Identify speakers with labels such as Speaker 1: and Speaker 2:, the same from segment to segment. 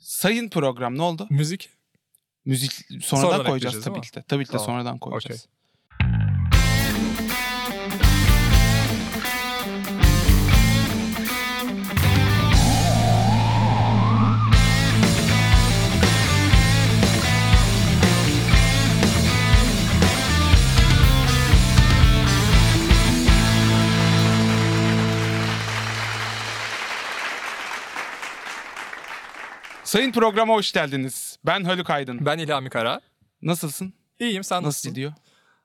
Speaker 1: Sayın program ne oldu?
Speaker 2: Müzik.
Speaker 1: Müzik sonradan,
Speaker 2: Sonradan
Speaker 1: koyacağız
Speaker 2: ekleyeceğiz,
Speaker 1: tabii
Speaker 2: değil
Speaker 1: ki de. Tabii ki de
Speaker 2: Tamam.
Speaker 1: sonradan koyacağız. Sayın programa hoş geldiniz. Ben Haluk Aydın.
Speaker 2: Ben İlhami Kara.
Speaker 1: Nasılsın?
Speaker 2: İyiyim sen
Speaker 1: Nasıl
Speaker 2: nasılsın?
Speaker 1: gidiyor?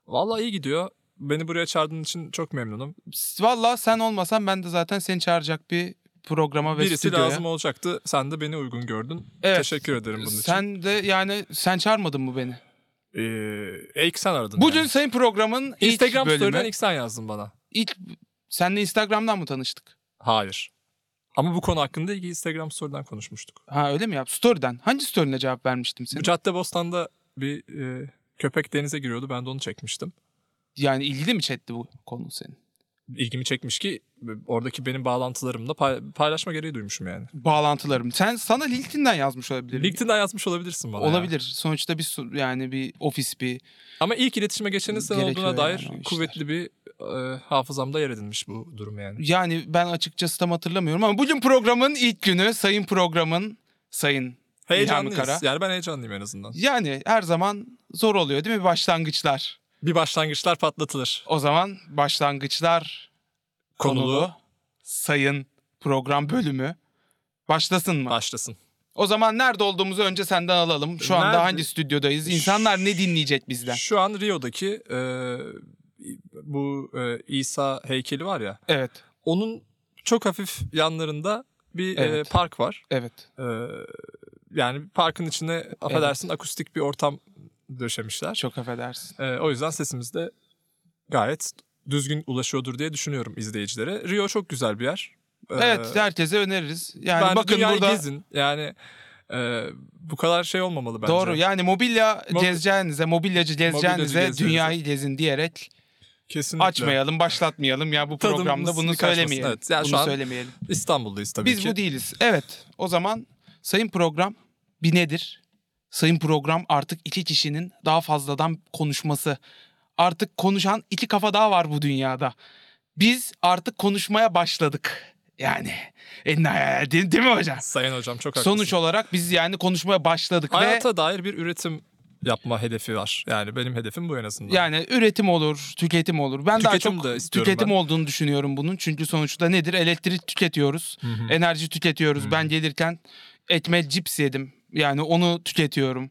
Speaker 2: Vallahi iyi gidiyor. Beni buraya çağırdığın için çok memnunum.
Speaker 1: Valla sen olmasan ben de zaten seni çağıracak bir programa ve
Speaker 2: Birisi
Speaker 1: stüdyoya.
Speaker 2: lazım olacaktı. Sen de beni uygun gördün.
Speaker 1: Evet.
Speaker 2: Teşekkür ederim bunun için.
Speaker 1: Sen de yani sen çağırmadın mı beni?
Speaker 2: Ee, ilk sen aradın.
Speaker 1: Bugün
Speaker 2: yani.
Speaker 1: sayın programın
Speaker 2: Instagram
Speaker 1: ilk bölümü.
Speaker 2: story'den ilk sen yazdın bana.
Speaker 1: ilk senle Instagram'dan mı tanıştık?
Speaker 2: Hayır. Ama bu konu hakkında ilk Instagram story'den konuşmuştuk.
Speaker 1: Ha öyle mi ya? Story'den. Hangi story'ine cevap vermiştim
Speaker 2: Bu
Speaker 1: senin?
Speaker 2: Caddebostan'da bir e, köpek denize giriyordu. Ben de onu çekmiştim.
Speaker 1: Yani ilgili mi chatti bu konu senin?
Speaker 2: İlgimi çekmiş ki e, oradaki benim bağlantılarımla pay- paylaşma gereği duymuşum yani.
Speaker 1: Bağlantılarım. Sen sana LinkedIn'den yazmış olabilirim.
Speaker 2: LinkedIn'den yazmış olabilirsin bana. ya.
Speaker 1: Olabilir. Sonuçta bir su- yani bir ofis bir
Speaker 2: Ama ilk iletişime geçenin sen
Speaker 1: Gerekiyor
Speaker 2: olduğuna dair
Speaker 1: yani o işler.
Speaker 2: kuvvetli bir e, hafızamda yer edinmiş bu durum yani.
Speaker 1: yani ben açıkçası tam hatırlamıyorum ama bugün programın ilk günü sayın programın sayın
Speaker 2: Heyecanlıyız.
Speaker 1: Kara.
Speaker 2: Yani ben heyecanlıyım en azından.
Speaker 1: yani her zaman zor oluyor değil mi başlangıçlar?
Speaker 2: Bir başlangıçlar patlatılır.
Speaker 1: O zaman başlangıçlar konulu,
Speaker 2: Konulu,
Speaker 1: sayın program bölümü başlasın mı?
Speaker 2: başlasın.
Speaker 1: O zaman nerede olduğumuzu önce senden alalım. Şu anda
Speaker 2: Nerede?
Speaker 1: hangi stüdyodayız? İnsanlar ne dinleyecek bizden?
Speaker 2: Şu an Rio'daki e, bu e, İsa heykeli var ya.
Speaker 1: Evet,
Speaker 2: Onun çok hafif yanlarında bir e,
Speaker 1: Evet.
Speaker 2: park var.
Speaker 1: evet.
Speaker 2: E, yani parkın içine affedersin akustik bir ortam döşemişler.
Speaker 1: Çok affedersin.
Speaker 2: Ee, o yüzden sesimiz de gayet düzgün ulaşıyordur diye düşünüyorum izleyicilere. Rio çok güzel bir yer. Ee,
Speaker 1: Evet, herkese öneririz. Yani
Speaker 2: bence
Speaker 1: bakın
Speaker 2: dünyayı
Speaker 1: burada
Speaker 2: gezin. Yani e, bu kadar şey olmamalı bence.
Speaker 1: doğru. Yani mobilya
Speaker 2: Mobi-
Speaker 1: gezeceğinize, mobilyacı gezeceğinize
Speaker 2: gezeceğinize.
Speaker 1: dünyayı gezin diyerek
Speaker 2: Kesinlikle.
Speaker 1: açmayalım, başlatmayalım. Ya bu
Speaker 2: Tadımız
Speaker 1: programda bunu
Speaker 2: kaçmasın,
Speaker 1: söylemeyelim.
Speaker 2: evet. Yani şu
Speaker 1: bunu
Speaker 2: an
Speaker 1: söylemeyelim.
Speaker 2: İstanbul'dayız tabii
Speaker 1: Biz
Speaker 2: ki.
Speaker 1: bu değiliz. Evet. O zaman sayın program bir nedir? Sayın program artık iki kişinin daha fazladan konuşması. Artık konuşan iki kafa daha var bu dünyada. Biz artık konuşmaya başladık. Yani en nihayet- değil, değil mi hocam?
Speaker 2: Sayın hocam çok haklısın.
Speaker 1: Sonuç olarak biz yani konuşmaya başladık ve
Speaker 2: Hayata dair bir üretim yapma hedefi var. Yani benim hedefim bu en azından.
Speaker 1: yani üretim olur, tüketim olur. Ben
Speaker 2: Tüketim
Speaker 1: daha
Speaker 2: de
Speaker 1: çok
Speaker 2: istiyorum
Speaker 1: tüketim
Speaker 2: ben.
Speaker 1: olduğunu düşünüyorum bunun. Çünkü sonuçta nedir? Elektrik tüketiyoruz.
Speaker 2: Hı hı.
Speaker 1: enerji tüketiyoruz.
Speaker 2: Hı.
Speaker 1: Ben gelirken etme cips yedim. Yani onu tüketiyorum.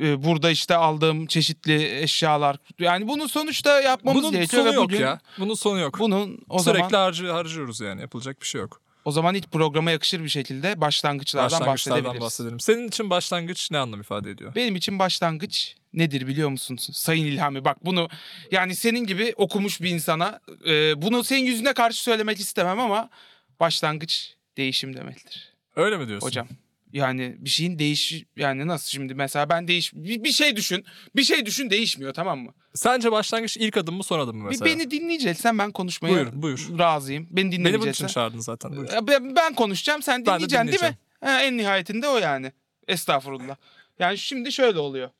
Speaker 1: Ee, Burada işte aldığım çeşitli eşyalar. Yani bunun sonuçta yapmamız
Speaker 2: Bunun
Speaker 1: gerekiyor.
Speaker 2: sonu
Speaker 1: ve
Speaker 2: yok
Speaker 1: bugün
Speaker 2: ya. Bunun sonu yok.
Speaker 1: Bunun o
Speaker 2: Sürekli
Speaker 1: zaman
Speaker 2: harcı- harcıyoruz yani. Yapılacak bir şey yok.
Speaker 1: o zaman ilk programa yakışır bir şekilde başlangıçlardan,
Speaker 2: Başlangıçlardan
Speaker 1: bahsedebiliriz.
Speaker 2: bahsedelim. Senin için başlangıç ne anlam ifade ediyor?
Speaker 1: Benim için başlangıç nedir biliyor musunuz? Sayın İlhami bak bunu yani senin gibi okumuş bir insana e, bunu senin yüzüne karşı söylemek istemem ama başlangıç değişim demektir.
Speaker 2: Öyle mi diyorsun?
Speaker 1: Hocam yani bir şeyin değiş yani nasıl şimdi mesela ben değiş bir, bir şey düşün. Bir şey düşün değişmiyor tamam mı?
Speaker 2: Sence başlangıç ilk adım mı son adım mı
Speaker 1: Bir
Speaker 2: mesela?
Speaker 1: beni dinleyeceksen ben konuşmaya
Speaker 2: Buyur, buyur.
Speaker 1: razıyım. Beni
Speaker 2: Beni bunun için
Speaker 1: dinlemeyeceksen.
Speaker 2: çağırdın zaten. Buyur.
Speaker 1: Ya ben, ben konuşacağım sen
Speaker 2: de
Speaker 1: dinleyeceksin değil mi? Ha, en nihayetinde o yani. Estağfurullah. Yani şimdi şöyle oluyor.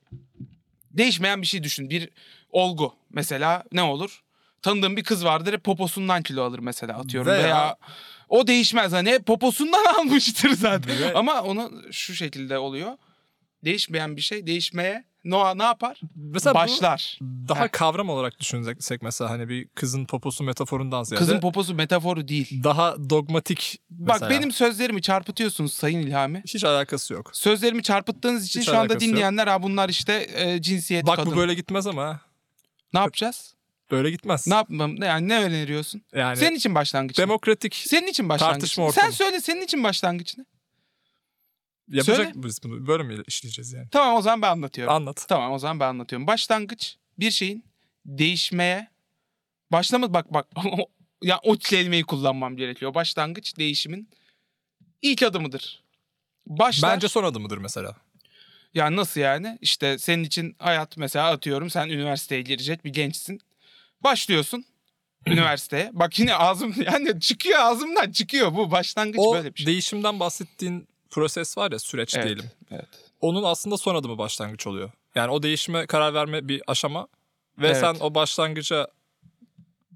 Speaker 1: Değişmeyen bir şey düşün. Bir olgu mesela ne olur? Tanıdığım bir kız vardır hep poposundan kilo alır mesela atıyorum. Veya,
Speaker 2: Veya-
Speaker 1: o değişmez hani hep poposundan almıştır zaten.
Speaker 2: Ve-
Speaker 1: Ama onu şu şekilde oluyor. Değişmeyen bir şey değişmeye Noah ne yapar?
Speaker 2: Mesela
Speaker 1: Başlar.
Speaker 2: bu daha kavram olarak düşünsek mesela hani bir kızın poposu metaforundan ziyade
Speaker 1: Kızın poposu metaforu değil.
Speaker 2: daha dogmatik
Speaker 1: Bak
Speaker 2: mesela.
Speaker 1: benim sözlerimi çarpıtıyorsunuz Sayın İlhami.
Speaker 2: hiç alakası yok.
Speaker 1: Sözlerimi çarpıttığınız için
Speaker 2: Hiç
Speaker 1: şu anda
Speaker 2: alakası yok.
Speaker 1: dinleyenler ha bunlar işte e, cinsiyet
Speaker 2: Bak
Speaker 1: kadın.
Speaker 2: bu böyle gitmez ama ha.
Speaker 1: Ne yapacağız?
Speaker 2: böyle gitmez.
Speaker 1: Ne yapmam? ne- Yani ne öneriyorsun?
Speaker 2: yani
Speaker 1: senin için başlangıç. ne?
Speaker 2: demokratik
Speaker 1: senin için başlangıç.
Speaker 2: Hani Tartışma
Speaker 1: ne?
Speaker 2: ortamı.
Speaker 1: Sen söyle senin için başlangıç ne?
Speaker 2: yapacak biz bunu böyle mi işleyeceğiz yani?
Speaker 1: Tamam o zaman ben anlatıyorum.
Speaker 2: Anlat.
Speaker 1: tamam o zaman ben anlatıyorum. Başlangıç bir şeyin değişmeye başlama bak bak ya o kelimeyi kullanmam gerekiyor. Başlangıç değişimin ilk adımıdır. Başlar.
Speaker 2: Bence son adımıdır mesela.
Speaker 1: Ya nasıl yani? İşte senin için hayat mesela atıyorum sen üniversiteye girecek bir gençsin. Başlıyorsun üniversiteye. Bak yine ağzım yani çıkıyor ağzımdan çıkıyor bu başlangıç
Speaker 2: o
Speaker 1: böyle bir şey.
Speaker 2: değişimden bahsettiğin proses var ya süreç
Speaker 1: Evet,
Speaker 2: diyelim.
Speaker 1: evet.
Speaker 2: Onun aslında son adımı başlangıç oluyor. Yani o değişime karar verme bir aşama ve
Speaker 1: Evet.
Speaker 2: sen o başlangıca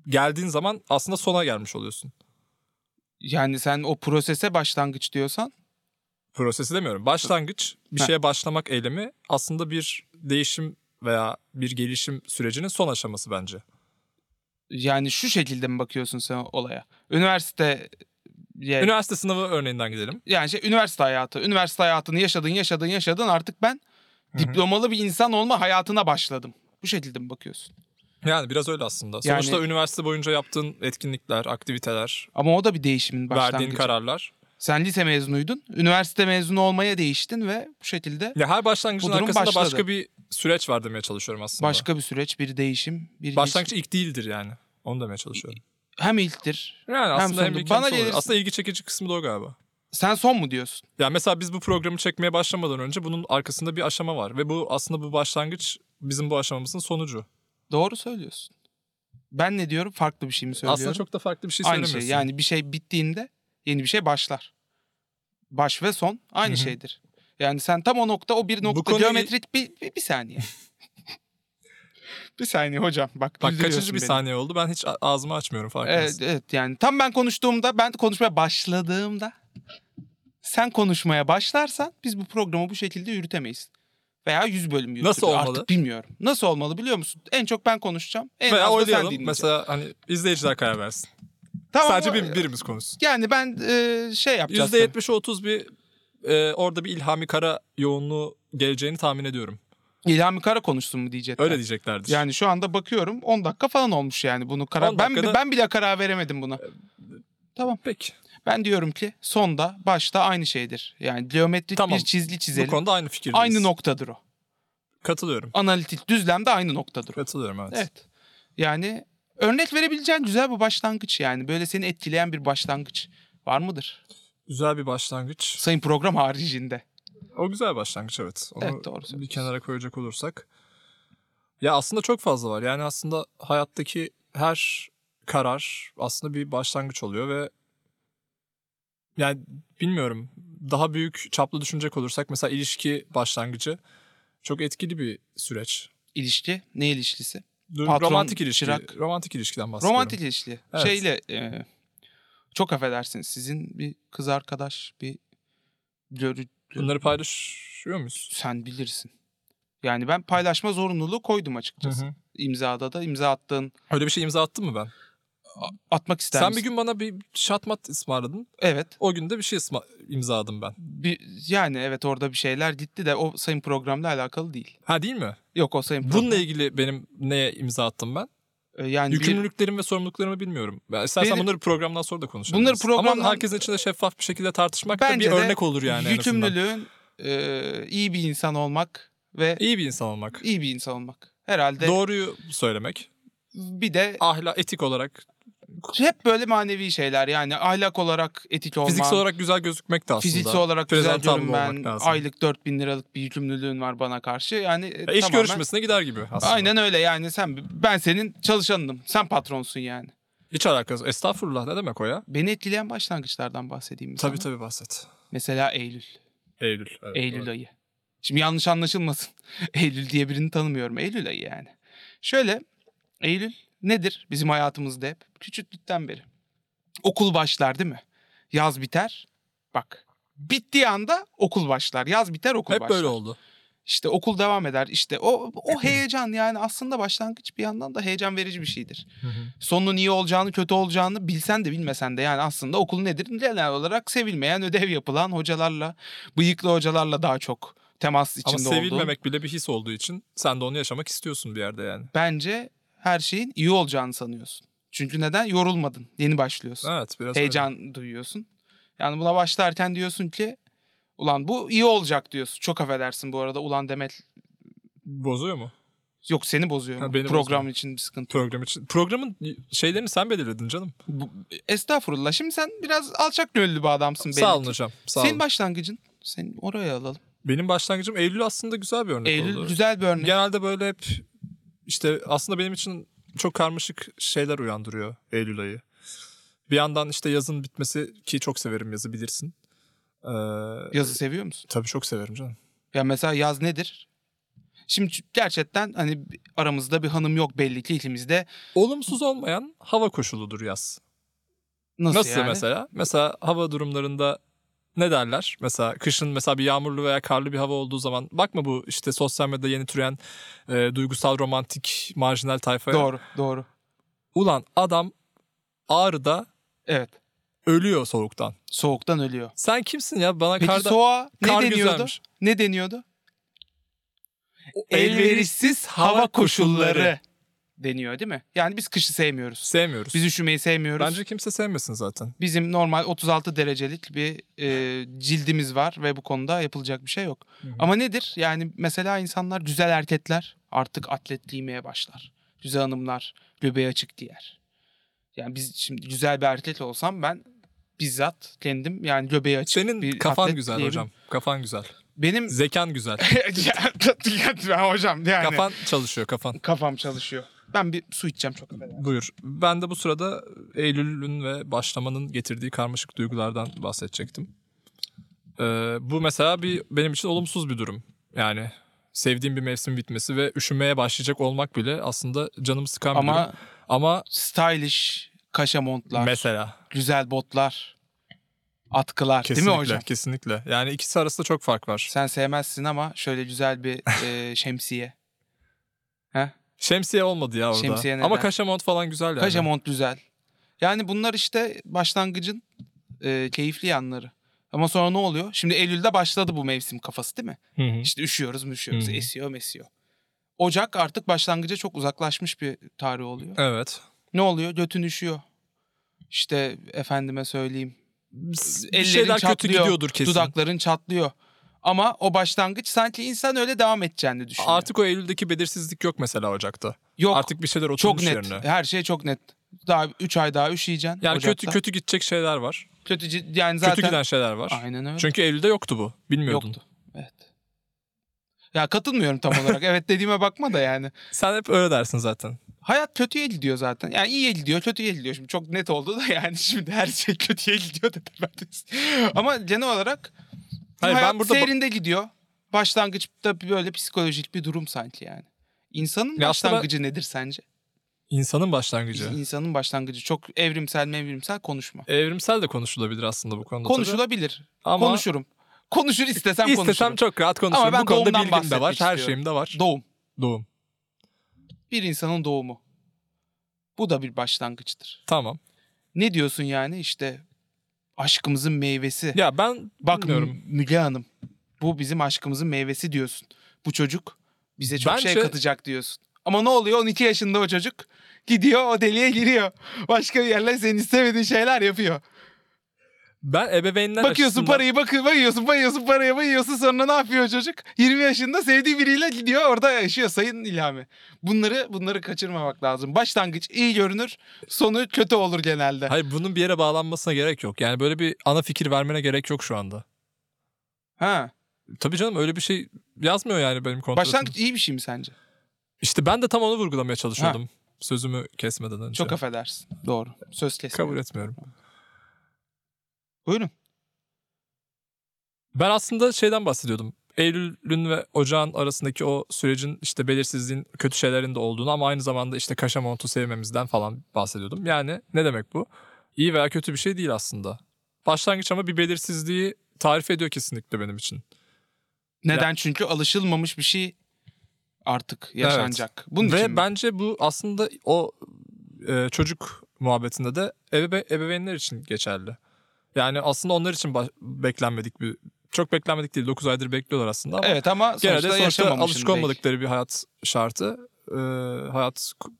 Speaker 2: geldiğin zaman aslında sona gelmiş oluyorsun.
Speaker 1: Yani sen o prosese başlangıç diyorsan
Speaker 2: Prosesi demiyorum. Başlangıç, bir
Speaker 1: Ha.
Speaker 2: şeye başlamak eylemi aslında bir değişim veya bir gelişim sürecinin son aşaması bence.
Speaker 1: yani şu şekilde mi bakıyorsun sen olaya? Üniversite
Speaker 2: Üniversite sınavı örneğinden gidelim.
Speaker 1: yani şey üniversite hayatı. Üniversite hayatını yaşadın, yaşadın, yaşadın. Artık ben
Speaker 2: Hı hı.
Speaker 1: diplomalı bir insan olma hayatına başladım. Bu şekilde mi bakıyorsun?
Speaker 2: Yani biraz öyle aslında.
Speaker 1: Yani-
Speaker 2: Sonuçta üniversite boyunca yaptığın etkinlikler, aktiviteler,
Speaker 1: Ama o da bir değişimin
Speaker 2: verdiğin
Speaker 1: başlangıcı.
Speaker 2: kararlar.
Speaker 1: Sen lise mezunuydun. Üniversite mezunu olmaya değiştin ve bu şekilde
Speaker 2: Ya her başlangıcın
Speaker 1: Bu durum
Speaker 2: arkasında
Speaker 1: başladı.
Speaker 2: başka bir süreç var demeye çalışıyorum aslında.
Speaker 1: başka bir süreç, bir değişim, bir
Speaker 2: Başlangıç ilk değildir yani. Onu demeye çalışıyorum.
Speaker 1: ilişki. hem ilktir.
Speaker 2: Yani aslında hem
Speaker 1: sonunda.
Speaker 2: ilk
Speaker 1: Bana
Speaker 2: hem sonu.
Speaker 1: gelirsin.
Speaker 2: Aslında ilgi çekici kısmı da o galiba.
Speaker 1: Sen son mu diyorsun?
Speaker 2: Yani mesela biz bu programı çekmeye başlamadan önce bunun arkasında bir aşama var. Ve bu aslında bu başlangıç bizim bu aşamamızın sonucu.
Speaker 1: Doğru söylüyorsun. Ben ne diyorum? Farklı bir şey mi söylüyorum?
Speaker 2: Aslında çok da farklı bir şey
Speaker 1: aynı
Speaker 2: söylemiyorsun.
Speaker 1: şey. Yani bir şey bittiğinde yeni bir şey başlar. Baş ve son aynı
Speaker 2: Hı hı.
Speaker 1: şeydir. Yani sen tam o nokta o bir
Speaker 2: Bu
Speaker 1: nokta
Speaker 2: konuyu-
Speaker 1: geometrik bir, bir, bir saniye. bir saniye hocam bak.
Speaker 2: Bak kaçıncı
Speaker 1: üzülüyorsun
Speaker 2: bir
Speaker 1: beni.
Speaker 2: saniye oldu ben hiç a- ağzımı açmıyorum farkındasın.
Speaker 1: Evet, evet yani tam ben konuştuğumda ben konuşmaya başladığımda sen konuşmaya başlarsan biz bu programı bu şekilde yürütemeyiz. Veya 100 bölüm yürütürüz.
Speaker 2: Nasıl olmalı?
Speaker 1: Artık bilmiyorum. Nasıl olmalı biliyor musun? En çok ben konuşacağım. En
Speaker 2: Veya
Speaker 1: az da sen
Speaker 2: oylayalım.
Speaker 1: dinleyeceksin.
Speaker 2: Mesela hani izleyiciler karar versin.
Speaker 1: Tamam,
Speaker 2: Sadece
Speaker 1: o-
Speaker 2: bir, birimiz konuşsun.
Speaker 1: Yani ben e, şey yapacağız. tabii.
Speaker 2: %70'e 30 bir e, orada bir İlhami Kara yoğunluğu geleceğini tahmin ediyorum.
Speaker 1: İlhami Kara konuşsun mu diyecekler.
Speaker 2: Öyle diyeceklerdir.
Speaker 1: Yani şu anda bakıyorum 10 dakika falan olmuş yani bunu
Speaker 2: 10
Speaker 1: karar ben
Speaker 2: dakikada-
Speaker 1: ben bile karar veremedim buna. Tamam.
Speaker 2: peki.
Speaker 1: Ben diyorum ki sonda başta aynı şeydir. Yani geometrik
Speaker 2: Tamam.
Speaker 1: bir çizgi
Speaker 2: Bu
Speaker 1: çizelim.
Speaker 2: konuda aynı fikirdeyiz.
Speaker 1: Aynı noktadır o.
Speaker 2: Katılıyorum.
Speaker 1: Analitik düzlem de aynı noktadır o.
Speaker 2: Katılıyorum evet.
Speaker 1: Evet. Yani örnek verebileceğin güzel bir başlangıç yani. Böyle seni etkileyen bir başlangıç var mıdır?
Speaker 2: Güzel bir başlangıç.
Speaker 1: Sayın program haricinde.
Speaker 2: O güzel başlangıç evet. Onu
Speaker 1: Evet, doğru
Speaker 2: bir
Speaker 1: söylüyorsun.
Speaker 2: kenara koyacak olursak. Ya aslında çok fazla var. Yani aslında hayattaki her karar aslında bir başlangıç oluyor ve yani bilmiyorum daha büyük çaplı düşünecek olursak mesela ilişki başlangıcı çok etkili bir süreç.
Speaker 1: İlişki, ne ilişkisi?
Speaker 2: Dur,
Speaker 1: Patron,
Speaker 2: romantik ilişki.
Speaker 1: çırak.
Speaker 2: Romantik ilişkiden bahsediyorum.
Speaker 1: Romantik ilişki.
Speaker 2: Evet.
Speaker 1: Şeyle e, çok affedersiniz sizin bir kız arkadaş bir görü
Speaker 2: Bunları paylaşıyor muyuz?
Speaker 1: sen bilirsin. Yani ben paylaşma zorunluluğu koydum açıkçası.
Speaker 2: Hı
Speaker 1: İmzada da imza attığın
Speaker 2: Öyle bir şey imza attın mı ben?
Speaker 1: atmak ister
Speaker 2: Sen
Speaker 1: misin?
Speaker 2: bir gün bana bir şatmat ısmarladın.
Speaker 1: Evet.
Speaker 2: O gün de bir şey ısma- imzaladım ben.
Speaker 1: Bir, yani evet orada bir şeyler gitti de o sayın programla alakalı değil.
Speaker 2: Ha değil mi?
Speaker 1: Yok o sayın program.
Speaker 2: Bununla ilgili benim neye imza attım ben?
Speaker 1: E, yani bir-
Speaker 2: Yükümlülüklerim ve sorumluluklarımı bilmiyorum. Ben istersen
Speaker 1: Benim-
Speaker 2: bunları programdan sonra da konuşalım.
Speaker 1: Bunları programdan-
Speaker 2: Ama herkesin içinde şeffaf bir şekilde tartışmak da
Speaker 1: Bence
Speaker 2: bir
Speaker 1: de
Speaker 2: örnek olur yani en azından.
Speaker 1: yükümlülüğün e, iyi bir insan olmak ve
Speaker 2: İyi bir insan olmak.
Speaker 1: iyi bir insan olmak. Herhalde
Speaker 2: Doğruyu söylemek.
Speaker 1: bir de
Speaker 2: Ahlak, etik olarak,
Speaker 1: hep böyle manevi şeyler yani ahlak olarak etik olman.
Speaker 2: fiziksel olarak güzel gözükmek de aslında.
Speaker 1: Fiziksel olarak güzel
Speaker 2: Prezentable
Speaker 1: görünmen,
Speaker 2: olmak lazım.
Speaker 1: aylık 4000 liralık bir yükümlülüğün var bana karşı. Yani e,
Speaker 2: Ya iş
Speaker 1: tamamen-
Speaker 2: görüşmesine gider gibi aslında.
Speaker 1: Aynen öyle yani sen ben senin çalışanınım. Sen patronsun yani.
Speaker 2: Hiç alakası. Estağfurullah ne demek o ya?
Speaker 1: Beni etkileyen başlangıçlardan bahsedeyim mi
Speaker 2: Tabii
Speaker 1: sana?
Speaker 2: tabii bahset.
Speaker 1: Mesela Eylül.
Speaker 2: Eylül. evet,
Speaker 1: Eylül
Speaker 2: evet.
Speaker 1: ayı. Şimdi yanlış anlaşılmasın. Eylül diye birini tanımıyorum. Eylül ayı yani. Şöyle Eylül nedir bizim hayatımızda hep? Küçüklükten beri. Okul başlar değil mi? Yaz biter. Bak bittiği anda okul başlar. Yaz biter okul
Speaker 2: Hep
Speaker 1: başlar.
Speaker 2: böyle oldu.
Speaker 1: İşte okul devam eder. İşte o o heyecan yani aslında başlangıç bir yandan da heyecan verici bir şeydir. Sonunun iyi olacağını, kötü olacağını bilsen de bilmesen de yani aslında okul nedir? Genel olarak sevilmeyen, ödev yapılan hocalarla, bıyıklı hocalarla daha çok temas içinde
Speaker 2: Ama
Speaker 1: olduğun.
Speaker 2: sevilmemek bile bir his olduğu için sen de onu yaşamak istiyorsun bir yerde yani.
Speaker 1: Bence her şeyin iyi olacağını sanıyorsun. Çünkü neden? Yorulmadın. Yeni başlıyorsun.
Speaker 2: Evet biraz öyle.
Speaker 1: heyecan duyuyorsun. Yani buna başlarken diyorsun ki ulan bu iyi olacak diyorsun. Çok affedersin bu arada ulan demek
Speaker 2: Bozuyor mu?
Speaker 1: yok seni bozuyor.
Speaker 2: Ha,
Speaker 1: mu?
Speaker 2: beni
Speaker 1: Program
Speaker 2: bozmuyor.
Speaker 1: için bir sıkıntı.
Speaker 2: Program için. Programın şeylerini sen belirledin canım.
Speaker 1: Bu- Estağfurullah. Şimdi sen biraz alçak gönüllü bir adamsın. belli
Speaker 2: Sağ olun
Speaker 1: ki.
Speaker 2: hocam. Sağ
Speaker 1: Senin
Speaker 2: olun.
Speaker 1: başlangıcın. Seni oraya alalım.
Speaker 2: Benim başlangıcım Eylül aslında güzel bir örnek
Speaker 1: Eylül
Speaker 2: oldu.
Speaker 1: güzel bir örnek.
Speaker 2: Genelde böyle hep işte aslında benim için çok karmaşık şeyler uyandırıyor Eylül ayı. Bir yandan işte yazın bitmesi ki çok severim yazı bilirsin. Ee,
Speaker 1: Yazı seviyor musun?
Speaker 2: Tabii çok severim canım.
Speaker 1: Ya mesela yaz nedir? Şimdi ç- gerçekten hani aramızda bir hanım yok belli ki ikimizde.
Speaker 2: Olumsuz olmayan hava koşuludur yaz.
Speaker 1: Nasıl,
Speaker 2: Nasıl
Speaker 1: yani?
Speaker 2: mesela? Mesela hava durumlarında ne derler? Mesela kışın mesela bir yağmurlu veya karlı bir hava olduğu zaman bakma bu işte sosyal medyada yeni türeyen e, duygusal romantik marjinal tayfaya.
Speaker 1: Doğru, doğru.
Speaker 2: Ulan adam Ağrı'da
Speaker 1: Evet.
Speaker 2: ölüyor soğuktan.
Speaker 1: Soğuktan ölüyor.
Speaker 2: Sen kimsin ya? Bana
Speaker 1: Peki
Speaker 2: karda
Speaker 1: soğuğa ne
Speaker 2: kar
Speaker 1: deniyordu?
Speaker 2: güzelmiş.
Speaker 1: Ne deniyordu?
Speaker 2: O
Speaker 1: Elverişsiz hava koşulları deniyor değil mi? Yani biz kışı sevmiyoruz.
Speaker 2: sevmiyoruz.
Speaker 1: Biz üşümeyi sevmiyoruz.
Speaker 2: Bence kimse sevmesin zaten.
Speaker 1: Bizim normal 36 derecelik bir e, cildimiz var ve bu konuda yapılacak bir şey yok. Ama nedir? Yani mesela insanlar güzel erkekler artık atlet giymeye başlar. Güzel hanımlar göbeği açık diyer. Yani biz şimdi güzel bir erkek olsam ben bizzat kendim yani göbeği açık
Speaker 2: Senin
Speaker 1: bir
Speaker 2: kafan
Speaker 1: atlet
Speaker 2: güzel
Speaker 1: diyebilirim.
Speaker 2: hocam. Kafan güzel.
Speaker 1: Benim
Speaker 2: Zekan güzel.
Speaker 1: Ya hocam yani
Speaker 2: Kafan çalışıyor kafan.
Speaker 1: kafam çalışıyor. Ben bir su içeceğim çok affedersin.
Speaker 2: Buyur. Ben de bu sırada Eylül'ün ve başlamanın getirdiği karmaşık duygulardan bahsedecektim. Ee, bu mesela bir benim için olumsuz bir durum. Yani sevdiğim bir mevsim bitmesi ve üşümeye başlayacak olmak bile aslında canımı sıkan bir durum.
Speaker 1: Ama
Speaker 2: Ama
Speaker 1: stylish kaşa montlar,
Speaker 2: mesela
Speaker 1: güzel botlar, atkılar
Speaker 2: kesinlikle
Speaker 1: değil mi hocam?
Speaker 2: kesinlikle. Yani ikisi arasında çok fark var.
Speaker 1: Sen sevmezsin ama şöyle güzel bir e, şemsiye.
Speaker 2: Şemsiye olmadı ya orada.
Speaker 1: Şemsiye neden?
Speaker 2: Ama kaşamont falan güzel yani.
Speaker 1: Kaşa mont güzel. Yani bunlar işte başlangıcın e, keyifli yanları. Ama sonra ne oluyor? Şimdi Eylül'de başladı bu mevsim kafası değil mi?
Speaker 2: Hı hı.
Speaker 1: İşte üşüyoruz müşüyoruz,
Speaker 2: Hı hı.
Speaker 1: esiyor mesiyor. Ocak artık başlangıca çok uzaklaşmış bir tarih oluyor.
Speaker 2: Evet.
Speaker 1: Ne oluyor? Götün üşüyor. İşte efendime söyleyeyim.
Speaker 2: Bir
Speaker 1: Ellerin
Speaker 2: şeyler kötü
Speaker 1: çatlıyor,
Speaker 2: gidiyordur kesin.
Speaker 1: Dudakların çatlıyor. Ama o başlangıç sanki insan öyle devam edeceğini düşünüyor.
Speaker 2: Artık o Eylül'deki belirsizlik yok mesela Ocak'ta.
Speaker 1: Yok.
Speaker 2: Artık bir şeyler
Speaker 1: Çok
Speaker 2: oturmuş
Speaker 1: net.
Speaker 2: yerine.
Speaker 1: Her şey çok net. Daha 3 ay daha üşüyeceksin.
Speaker 2: Yani kötü
Speaker 1: Ocak'ta.
Speaker 2: kötü gidecek şeyler var.
Speaker 1: kötü ci- yani zaten
Speaker 2: Kötü giden şeyler var.
Speaker 1: aynen öyle.
Speaker 2: Çünkü Eylül'de yoktu bu. Bilmiyordun.
Speaker 1: Yoktu. Evet. Ya katılmıyorum tam olarak. evet dediğime bakma da yani.
Speaker 2: Sen hep öyle dersin zaten.
Speaker 1: Hayat kötüye gidiyor zaten. Yani iyiye gidiyor, kötüye gidiyor. Şimdi çok net oldu da yani şimdi her şey kötüye gidiyor da temeldeyiz. Ama genel olarak
Speaker 2: Hayır, ben
Speaker 1: hayat
Speaker 2: burada ba-
Speaker 1: seyrinde gidiyor. Başlangıçta böyle psikolojik bir durum sanki yani. İnsanın
Speaker 2: Ya aslında ben-
Speaker 1: başlangıcı nedir sence?
Speaker 2: İnsanın başlangıcı.
Speaker 1: İnsanın başlangıcı çok evrimsel mevrimsel konuşma.
Speaker 2: Evrimsel de konuşulabilir aslında bu konuda. tabii.
Speaker 1: Konuşulabilir.
Speaker 2: Ama
Speaker 1: Konuşurum. Konuşur istesem,
Speaker 2: istesem
Speaker 1: konuşurum.
Speaker 2: çok rahat konuşurum.
Speaker 1: ben
Speaker 2: bu konuda
Speaker 1: doğumdan
Speaker 2: bilgim de var.
Speaker 1: bahsetmek
Speaker 2: Her
Speaker 1: istiyorum.
Speaker 2: şeyim de var.
Speaker 1: Doğum.
Speaker 2: Doğum.
Speaker 1: Bir insanın doğumu. Bu da bir başlangıçtır.
Speaker 2: Tamam.
Speaker 1: Ne diyorsun yani işte aşkımızın meyvesi.
Speaker 2: Ya ben Hmm,
Speaker 1: Bak
Speaker 2: bakmıyorum.
Speaker 1: M- Müge Hanım bu bizim aşkımızın meyvesi diyorsun. Bu çocuk bize çok şey
Speaker 2: Bence-
Speaker 1: katacak diyorsun. Ama ne oluyor 12 yaşında o çocuk gidiyor o deliğe giriyor. Başka bir yerler senin istemediğin şeyler yapıyor.
Speaker 2: Ben ebeveynler
Speaker 1: Bakıyorsun
Speaker 2: açısından-
Speaker 1: parayı bakı bayıyorsun bayıyorsun paraya bayıyorsun sonra ne yapıyor çocuk? 20 yaşında sevdiği biriyle gidiyor orada yaşıyor sayın İlhami. Bunları bunları kaçırmamak lazım. Başlangıç iyi görünür sonu kötü olur genelde.
Speaker 2: Hayır bunun bir yere bağlanmasına gerek yok. Yani böyle bir ana fikir vermene gerek yok şu anda.
Speaker 1: Ha.
Speaker 2: Tabii canım öyle bir şey yazmıyor yani benim kontratım.
Speaker 1: Başlangıç iyi bir şey mi sence?
Speaker 2: İşte ben de tam onu vurgulamaya çalışıyordum. Sözümü kesmeden önce.
Speaker 1: Çok affedersin. Doğru. Söz kesmiyor.
Speaker 2: Kabul etmiyorum.
Speaker 1: Buyurun.
Speaker 2: Ben aslında şeyden bahsediyordum. Eylül'ün ve ocağın arasındaki o sürecin işte belirsizliğin kötü şeylerin de olduğunu ama aynı zamanda işte kaşa montu sevmemizden falan bahsediyordum. Yani ne demek bu? İyi veya kötü bir şey değil aslında. Başlangıç ama bir belirsizliği tarif ediyor kesinlikle benim için.
Speaker 1: Neden? Çünkü alışılmamış bir şey artık yaşanacak. Bunun
Speaker 2: Ve
Speaker 1: için mi?
Speaker 2: bence bu aslında o e, çocuk muhabbetinde de ebeve- ebeveynler için geçerli. Yani aslında onlar için ba- beklenmedik bir çok beklenmedik değil 9 aydır bekliyorlar aslında ama
Speaker 1: Evet ama
Speaker 2: gene de
Speaker 1: sonuçta
Speaker 2: sonuçta
Speaker 1: yaşamamışsın
Speaker 2: alışık
Speaker 1: belki.
Speaker 2: olmadıkları bir hayat şartı, e, hayat k-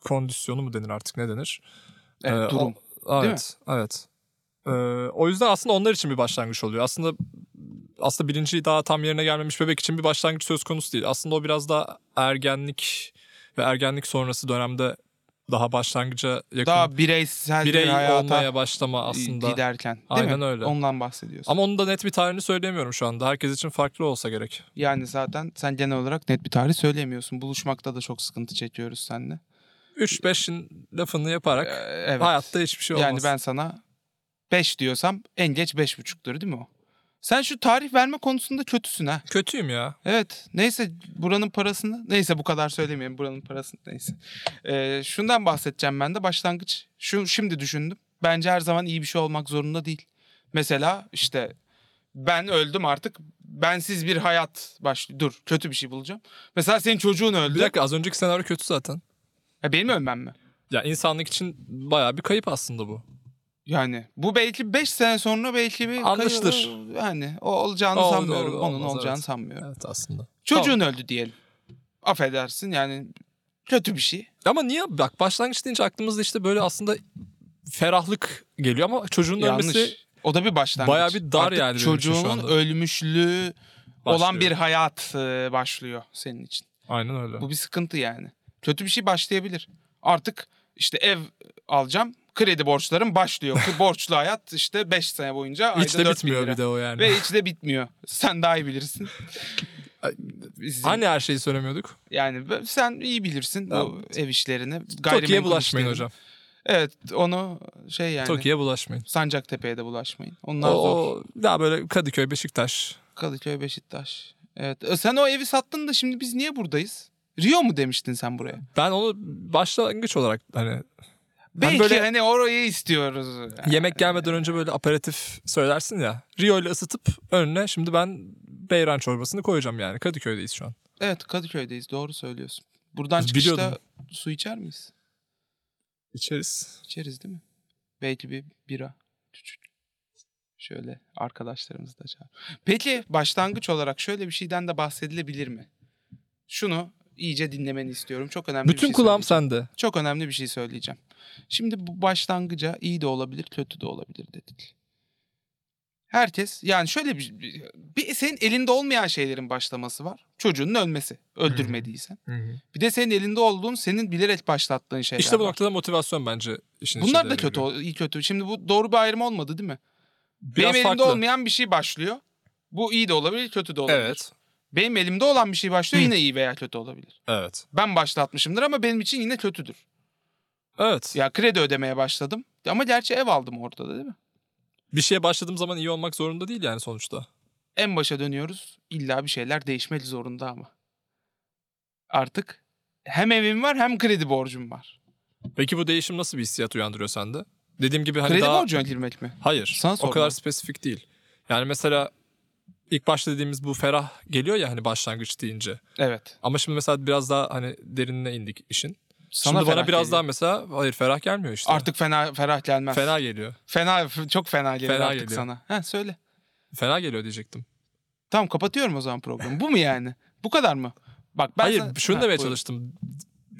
Speaker 2: kondisyonu mu denir artık ne denir?
Speaker 1: Evet,
Speaker 2: Ee,
Speaker 1: durum.
Speaker 2: o-
Speaker 1: Değil
Speaker 2: evet, evet. Ee, o yüzden aslında onlar için bir başlangıç oluyor. Aslında aslında bilinci daha tam yerine gelmemiş bebek için bir başlangıç söz konusu değil. Aslında o biraz daha ergenlik ve ergenlik sonrası dönemde daha başlangıca yakın
Speaker 1: Daha bireysel bir
Speaker 2: birey
Speaker 1: hayata
Speaker 2: olmaya başlama aslında.
Speaker 1: giderken. Değil
Speaker 2: Aynen
Speaker 1: mi?
Speaker 2: öyle.
Speaker 1: Ondan bahsediyorsun.
Speaker 2: Ama onun da net bir tarihini söyleyemiyorum şu anda. Herkes için farklı olsa gerek.
Speaker 1: Yani zaten sen genel olarak net bir tarih söyleyemiyorsun. Buluşmakta da çok sıkıntı çekiyoruz seninle.
Speaker 2: 3-5'in lafını yaparak
Speaker 1: Ee, evet.
Speaker 2: hayatta hiçbir şey olmaz.
Speaker 1: Yani ben sana 5 diyorsam en geç 5.5'tür değil mi o? Sen şu tarih verme konusunda kötüsün ha.
Speaker 2: Kötüyüm ya.
Speaker 1: Evet. Neyse buranın parasını neyse bu kadar söylemeyeyim buranın parasını neyse. Ee, şundan bahsedeceğim ben de başlangıç. Şu şimdi düşündüm. Bence her zaman iyi bir şey olmak zorunda değil. Mesela işte ben öldüm artık bensiz bir hayat baş dur kötü bir şey bulacağım. Mesela senin çocuğun
Speaker 2: Bir
Speaker 1: öldü.
Speaker 2: dakika az önceki senaryo kötü zaten.
Speaker 1: Ya benim ölmem mi?
Speaker 2: Ya insanlık için bayağı bir kayıp aslında bu.
Speaker 1: Yani bu belki 5 sene sonra belki bir
Speaker 2: Anlaşılır.
Speaker 1: Yani o olacağını
Speaker 2: Olur,
Speaker 1: sanmıyorum.
Speaker 2: olur,
Speaker 1: Onun
Speaker 2: olmaz,
Speaker 1: olacağını
Speaker 2: evet.
Speaker 1: sanmıyorum.
Speaker 2: Evet aslında.
Speaker 1: Çocuğun öldü diyelim. Affedersin yani kötü bir şey.
Speaker 2: Ama niye? Bak başlangıç deyince aklımızda işte böyle aslında ferahlık geliyor ama çocuğun ölmesi
Speaker 1: Yanlış. O da bir başlangıç.
Speaker 2: Bayağı bir dar
Speaker 1: Artık
Speaker 2: yani benim için şu
Speaker 1: çocuğun
Speaker 2: anda.
Speaker 1: ölmüşlüğü olan
Speaker 2: Başlıyor.
Speaker 1: bir hayat e, başlıyor senin için.
Speaker 2: Aynen öyle.
Speaker 1: Bu bir sıkıntı yani. Kötü bir şey başlayabilir. Artık işte ev alacağım. Kredi borçlarım başlıyor. Bu borçlu hayat işte 5 sene boyunca ayda
Speaker 2: Hiç de
Speaker 1: 4000
Speaker 2: bitmiyor
Speaker 1: lira.
Speaker 2: bir de o yani.
Speaker 1: Ve hiç de bitmiyor. Sen daha iyi bilirsin. Bizim-
Speaker 2: Hani her şeyi söylemiyorduk.
Speaker 1: Yani b- sen iyi bilirsin bu
Speaker 2: Tamam.
Speaker 1: ev işlerini.
Speaker 2: Tokyo'ya
Speaker 1: gayrimenkul
Speaker 2: bulaşmayın
Speaker 1: işlerini.
Speaker 2: hocam.
Speaker 1: Evet onu şey yani.
Speaker 2: Tokyo'ya bulaşmayın.
Speaker 1: Sancaktepe'ye de bulaşmayın.
Speaker 2: O,
Speaker 1: Onlar zor.
Speaker 2: daha böyle Kadıköy, Beşiktaş.
Speaker 1: Kadıköy Beşiktaş. Evet. E, Sen o evi sattın da şimdi biz niye buradayız? Rio mu demiştin sen buraya?
Speaker 2: Ben onu başlangıç olarak hani
Speaker 1: Belki
Speaker 2: böyle-
Speaker 1: hani orayı istiyoruz.
Speaker 2: yemek gelmeden önce böyle aperatif söylersin ya. Rio ile ısıtıp önüne şimdi ben beyran çorbasını koyacağım yani. Kadıköy'deyiz şu an.
Speaker 1: Evet Kadıköy'deyiz doğru söylüyorsun. Buradan
Speaker 2: Biz
Speaker 1: çıkışta
Speaker 2: biliyordum.
Speaker 1: su içer miyiz?
Speaker 2: İçeriz.
Speaker 1: İçeriz değil mi? Belki bir bira. Küçük. Şöyle arkadaşlarımızı da çağır. Peki başlangıç olarak şöyle bir şeyden de bahsedilebilir mi? Şunu iyice dinlemeni istiyorum. Çok önemli bir
Speaker 2: Bütün
Speaker 1: şey
Speaker 2: kulağım
Speaker 1: söyleyeceğim.
Speaker 2: sende.
Speaker 1: Çok önemli bir şey söyleyeceğim. Şimdi bu başlangıca iyi de olabilir, kötü de olabilir dedik. Herkes yani şöyle bir, bir senin elinde olmayan şeylerin başlaması var. Çocuğunun ölmesi, öldürmediysen. Bir de senin elinde olduğun, senin bilerek başlattığın şeyler
Speaker 2: İşte bu
Speaker 1: var.
Speaker 2: noktada motivasyon bence işin
Speaker 1: Bunlar
Speaker 2: içinde
Speaker 1: da
Speaker 2: devreye
Speaker 1: kötü,
Speaker 2: giriyor.
Speaker 1: iyi kötü. Şimdi bu doğru bir ayrım olmadı değil mi?
Speaker 2: Biraz
Speaker 1: Benim elimde
Speaker 2: farklı.
Speaker 1: olmayan bir şey başlıyor. Bu iyi de olabilir, kötü de olabilir.
Speaker 2: Evet.
Speaker 1: Benim elimde olan bir şey başlıyor
Speaker 2: Hı.
Speaker 1: yine iyi veya kötü olabilir.
Speaker 2: Evet.
Speaker 1: Ben başlatmışımdır ama benim için yine kötüdür.
Speaker 2: Evet.
Speaker 1: Ya kredi ödemeye başladım. Ama gerçi ev aldım ortada değil mi?
Speaker 2: Bir şeye başladığım zaman iyi olmak zorunda değil yani sonuçta.
Speaker 1: En başa dönüyoruz. İlla bir şeyler değişmek zorunda ama. Artık hem evim var hem kredi borcum var.
Speaker 2: Peki bu değişim nasıl bir hissiyat uyandırıyor sende? Dediğim gibi hani
Speaker 1: kredi
Speaker 2: daha...
Speaker 1: borcuna girmek mi?
Speaker 2: Hayır.
Speaker 1: Sana
Speaker 2: o
Speaker 1: sordum.
Speaker 2: kadar spesifik değil. Yani mesela ilk başta dediğimiz bu ferah geliyor ya hani başlangıç deyince.
Speaker 1: Evet.
Speaker 2: Ama şimdi mesela biraz daha hani derinine indik işin.
Speaker 1: Sana
Speaker 2: şimdi bana
Speaker 1: ferah
Speaker 2: biraz
Speaker 1: geliyor.
Speaker 2: daha mesela hayır ferah gelmiyor işte.
Speaker 1: Artık fena ferah gelmez.
Speaker 2: Fena geliyor.
Speaker 1: Fena çok fena geliyor
Speaker 2: Fena
Speaker 1: artık
Speaker 2: geliyor.
Speaker 1: sana. Heh, söyle.
Speaker 2: Fena geliyor diyecektim.
Speaker 1: Tamam kapatıyorum o zaman programı. Bu mu yani? Bu kadar mı? Bak ben
Speaker 2: Hayır
Speaker 1: sana-
Speaker 2: şunu
Speaker 1: Ha,
Speaker 2: demeye
Speaker 1: buyur.
Speaker 2: çalıştım.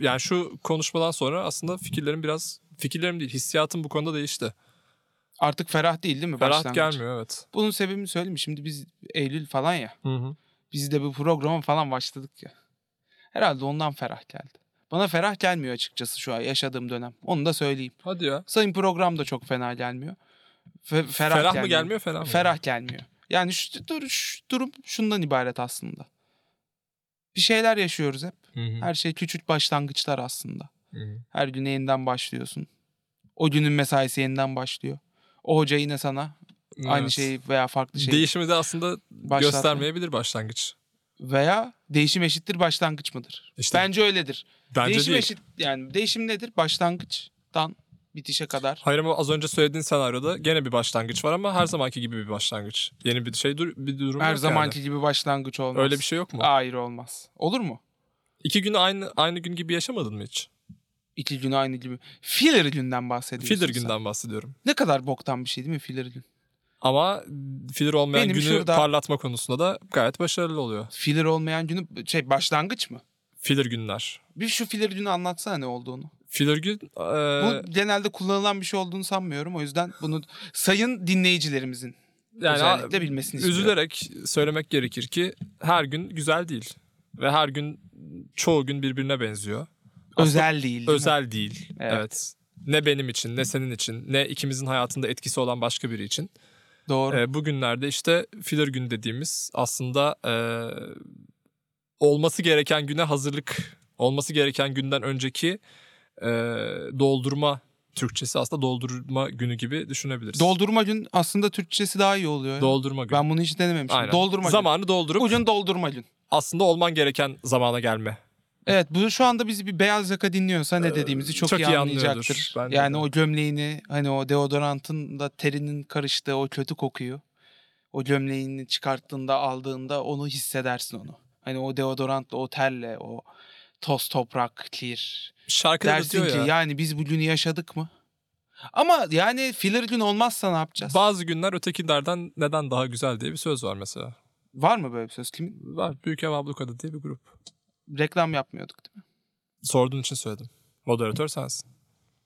Speaker 2: Yani şu konuşmadan sonra aslında fikirlerim biraz fikirlerim değil hissiyatım bu konuda değişti.
Speaker 1: Artık ferah değil değil mi?
Speaker 2: Ferah
Speaker 1: başlangıç?
Speaker 2: gelmiyor evet.
Speaker 1: Bunun sebebini söyleyeyim mi? Şimdi biz Eylül falan ya. Biz de bir programa falan başladık ya. Herhalde ondan ferah geldi. Bana ferah gelmiyor açıkçası şu an yaşadığım dönem. Onu da söyleyeyim.
Speaker 2: Hadi ya.
Speaker 1: Sayın program da çok fena gelmiyor. Fe- ferah,
Speaker 2: Ferah, mı gelmiyor ferah mı?
Speaker 1: Ferah gelmiyor. Yani şu, dur, şu durum şundan ibaret aslında. Bir şeyler yaşıyoruz hep.
Speaker 2: Hı hı.
Speaker 1: Her şey küçük başlangıçlar aslında.
Speaker 2: Hı hı.
Speaker 1: Her gün yeniden başlıyorsun. O günün mesaisi yeniden başlıyor. O hoca yine sana aynı şey- şeyi
Speaker 2: Evet.
Speaker 1: veya farklı şeyi
Speaker 2: Değişimi de aslında
Speaker 1: başlatma.
Speaker 2: göstermeyebilir başlangıç.
Speaker 1: Veya değişim eşittir başlangıç mıdır?
Speaker 2: İşte
Speaker 1: Bence öyledir.
Speaker 2: bence
Speaker 1: değişim
Speaker 2: değil.
Speaker 1: eşit yani değişim nedir? Başlangıçtan bitişe kadar.
Speaker 2: Hayır ama az önce söylediğin senaryoda gene bir başlangıç var ama her zamanki gibi bir başlangıç. Yeni bir şey dur bir durum
Speaker 1: Her
Speaker 2: yok
Speaker 1: zamanki gibi başlangıç
Speaker 2: yani.
Speaker 1: olmaz.
Speaker 2: Öyle bir şey yok mu?
Speaker 1: Hayır olmaz. Olur mu?
Speaker 2: İki günü aynı aynı gün gibi yaşamadın mı hiç?
Speaker 1: İki gün aynı gibi. Filler günden bahsediyorsun.
Speaker 2: Filler
Speaker 1: sen.
Speaker 2: günden bahsediyorum.
Speaker 1: Ne kadar boktan bir şey değil mi filler gün?
Speaker 2: Ama filler olmayan
Speaker 1: Benim
Speaker 2: günü
Speaker 1: şurada-
Speaker 2: parlatma konusunda da gayet başarılı oluyor.
Speaker 1: Filler olmayan günü şey başlangıç mı?
Speaker 2: Filler günler.
Speaker 1: Bir şu filler günü anlatsana ne olduğunu.
Speaker 2: Filler gün e,
Speaker 1: Bu genelde kullanılan bir şey olduğunu sanmıyorum. O yüzden bunu sayın dinleyicilerimizin
Speaker 2: yani a-
Speaker 1: özellikle bilmesini istiyorum.
Speaker 2: üzülerek söylemek gerekir ki her gün güzel değil ve her gün çoğu gün birbirine benziyor. Aslında
Speaker 1: Özel değil. değil mi?
Speaker 2: özel değil.
Speaker 1: Evet.
Speaker 2: Evet. Ne benim için, ne senin için, ne ikimizin hayatında etkisi olan başka biri için.
Speaker 1: Doğru.
Speaker 2: Ee, bugünlerde işte filler gün dediğimiz aslında e, olması gereken güne hazırlık, olması gereken günden önceki e, doldurma Türkçesi aslında doldurma günü gibi düşünebiliriz.
Speaker 1: Doldurma gün aslında Türkçesi daha iyi oluyor.
Speaker 2: doldurma günü.
Speaker 1: ben bunu hiç denememiştim.
Speaker 2: Aynen.
Speaker 1: Doldurma
Speaker 2: Zamanı doldurup
Speaker 1: gün. Ucun doldurma gün.
Speaker 2: aslında olman gereken zamana gelme.
Speaker 1: Evet bu şu anda bizi bir beyaz yaka dinliyorsa
Speaker 2: Ee,
Speaker 1: ne dediğimizi çok,
Speaker 2: çok
Speaker 1: iyi,
Speaker 2: iyi
Speaker 1: anlayacaktır.
Speaker 2: anlıyordur. Ben de
Speaker 1: yani
Speaker 2: öyle.
Speaker 1: o gömleğini hani o deodorantın da terinin karıştığı o kötü kokuyu o gömleğini çıkarttığında aldığında onu hissedersin onu. Hani o deodorantla o terle o toz toprak clear
Speaker 2: Şarkıda da
Speaker 1: dersin
Speaker 2: diyor
Speaker 1: ki
Speaker 2: ya.
Speaker 1: yani biz bu günü yaşadık mı? Ama yani filler gün olmazsa ne yapacağız?
Speaker 2: Bazı günler ötekilerden neden daha güzel diye bir söz var mesela.
Speaker 1: Var mı böyle bir söz? Kim?
Speaker 2: Var. Büyük Ev Ablukada diye bir grup.
Speaker 1: Reklam yapmıyorduk değil mi?
Speaker 2: Sorduğun için söyledim. Moderatör sensin.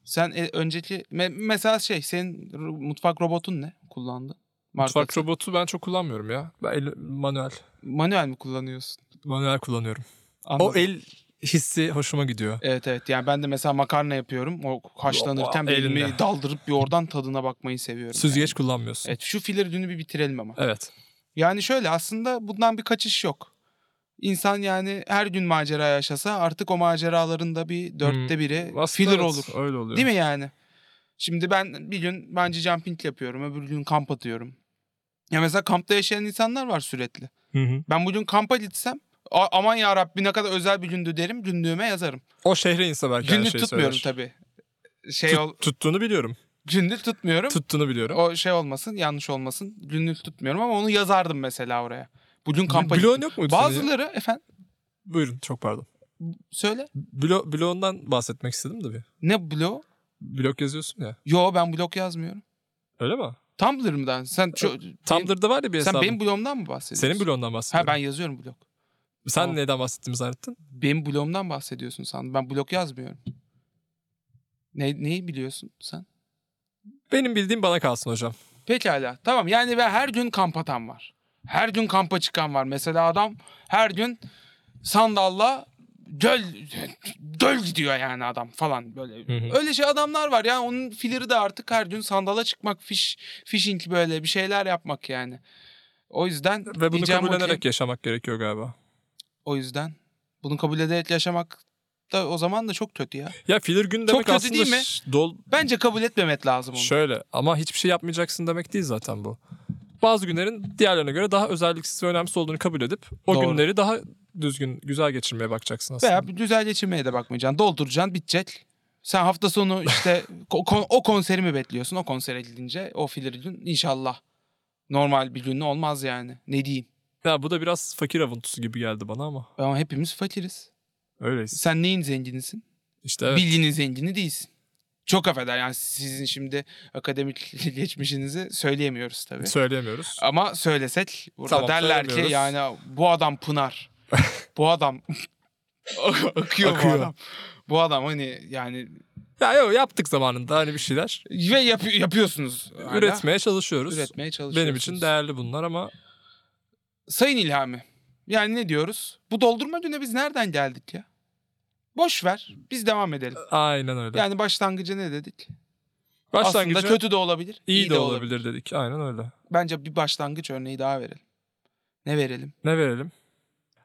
Speaker 1: Sen e, önceki me- mesela şey senin ro- mutfak robotun ne kullandın? Markası.
Speaker 2: Mutfak robotu ben çok kullanmıyorum ya. Ben el- manuel.
Speaker 1: Manuel mi kullanıyorsun?
Speaker 2: Manuel kullanıyorum.
Speaker 1: Anladım.
Speaker 2: O el hissi hoşuma gidiyor.
Speaker 1: Evet evet yani ben de mesela makarna yapıyorum. O haşlanırken bir
Speaker 2: Elinde.
Speaker 1: elimi daldırıp bir oradan tadına bakmayı seviyorum.
Speaker 2: Süzgeç
Speaker 1: Yani.
Speaker 2: kullanmıyorsun.
Speaker 1: Evet şu filler günü bir bitirelim ama.
Speaker 2: Evet.
Speaker 1: Yani şöyle aslında bundan bir kaçış yok. İnsan yani her gün macera yaşasa artık o maceraların da bir dörtte biri
Speaker 2: Hmm. Aslında
Speaker 1: filler
Speaker 2: evet,
Speaker 1: olur.
Speaker 2: Öyle oluyor.
Speaker 1: Değil mi yani? Şimdi ben bir gün bence jumping yapıyorum. Öbür gün kamp atıyorum. Ya mesela kampta yaşayan insanlar var sürekli.
Speaker 2: Hı hı.
Speaker 1: Ben bugün kampa gitsem "A- aman ya Rabbi ne kadar özel bir gündü derim günlüğüme yazarım.
Speaker 2: O şehre inse belki her
Speaker 1: Günlük
Speaker 2: şeyi
Speaker 1: tutmuyorum
Speaker 2: söyler.
Speaker 1: tabii. Şey
Speaker 2: Tut-
Speaker 1: ol,
Speaker 2: tuttuğunu biliyorum.
Speaker 1: günlük tutmuyorum.
Speaker 2: Tuttuğunu biliyorum.
Speaker 1: o şey olmasın, yanlış olmasın. Günlük tutmuyorum ama onu yazardım mesela oraya. Bugün kampa
Speaker 2: Bloğun
Speaker 1: gittim.
Speaker 2: yok muydu senin ya?
Speaker 1: Bazıları efendim
Speaker 2: Buyurun çok pardon.
Speaker 1: söyle.
Speaker 2: Blo bloğundan bahsetmek istedim de bir.
Speaker 1: Ne blog?
Speaker 2: Blog yazıyorsun ya.
Speaker 1: Yo ben blog yazmıyorum.
Speaker 2: Öyle mi?
Speaker 1: Tumblr'ımdan. Sen ço-
Speaker 2: Tumblr'da var ya bir
Speaker 1: sen
Speaker 2: hesabın.
Speaker 1: benim blogumdan mı bahsediyorsun?
Speaker 2: Senin bloğundan
Speaker 1: Ha
Speaker 2: bahsediyorum.
Speaker 1: ben yazıyorum blog.
Speaker 2: Sen
Speaker 1: Tamam.
Speaker 2: neden bahsettiğimi zannettin?
Speaker 1: Benim blogumdan bahsediyorsun sandım. Ben blog yazmıyorum. Ne, neyi biliyorsun sen?
Speaker 2: Benim bildiğim bana kalsın hocam.
Speaker 1: Pekala. Tamam yani ve her gün kamp atan var. Her gün kampa çıkan var. Mesela adam her gün sandalla göl göl gidiyor yani adam falan böyle.
Speaker 2: Hı hı.
Speaker 1: Öyle şey adamlar var ya. Onun filiri de artık her gün sandala çıkmak, fish fishing böyle bir şeyler yapmak yani. O yüzden
Speaker 2: Ve bunu
Speaker 1: diyeceğim o ki-
Speaker 2: kabullenerek yaşamak gerekiyor galiba.
Speaker 1: o yüzden bunu kabul ederek yaşamak da o zaman da çok kötü ya.
Speaker 2: Ya filler gün demek
Speaker 1: kötü
Speaker 2: aslında
Speaker 1: değil mi?
Speaker 2: ş- dol
Speaker 1: Bence kabul etmemek lazım onu.
Speaker 2: şöyle ama hiçbir şey yapmayacaksın demek değil zaten bu. Bazı günlerin diğerlerine göre daha özelliksiz ve önemsiz olduğunu kabul edip o
Speaker 1: Doğru.
Speaker 2: günleri daha düzgün, güzel geçirmeye bakacaksın aslında.
Speaker 1: Veya bir güzel geçinmeye de bakmayacaksın. Dolduracaksın, bitecek. Sen hafta sonu işte ko- kon- o konseri mi bekliyorsun? O konsere gidince o filir gün inşallah normal bir gün olmaz yani. Ne diyeyim?
Speaker 2: Ya bu da biraz fakir avuntusu gibi geldi bana ama
Speaker 1: Ama hepimiz fakiriz.
Speaker 2: öyleyiz.
Speaker 1: Sen neyin zenginisin?
Speaker 2: İşte evet.
Speaker 1: Bilginin zengini değilsin. Çok affeder yani sizin şimdi akademik geçmişinizi söyleyemiyoruz tabii.
Speaker 2: söyleyemiyoruz.
Speaker 1: Ama söylesek burada
Speaker 2: Tamam,
Speaker 1: derler ki
Speaker 2: söylemiyoruz.
Speaker 1: yani bu adam Pınar. bu adam akıyor,
Speaker 2: Akıyor.
Speaker 1: bu adam. Bu adam hani yani
Speaker 2: Ya yok yaptık zamanında hani bir şeyler.
Speaker 1: ve yap- yapıyorsunuz. hala.
Speaker 2: Üretmeye çalışıyoruz.
Speaker 1: Üretmeye çalışıyorsunuz.
Speaker 2: Benim için değerli bunlar ama
Speaker 1: Sayın İlhami. Yani ne diyoruz? Bu doldurma güne biz nereden geldik ya? Boş ver. Biz devam edelim.
Speaker 2: aynen öyle.
Speaker 1: Yani başlangıcı ne dedik?
Speaker 2: Başlangıcı
Speaker 1: Aslında kötü de olabilir,
Speaker 2: iyi, de olabilir, dedik. Aynen öyle.
Speaker 1: Bence bir başlangıç örneği daha verelim. Ne verelim?
Speaker 2: Ne verelim?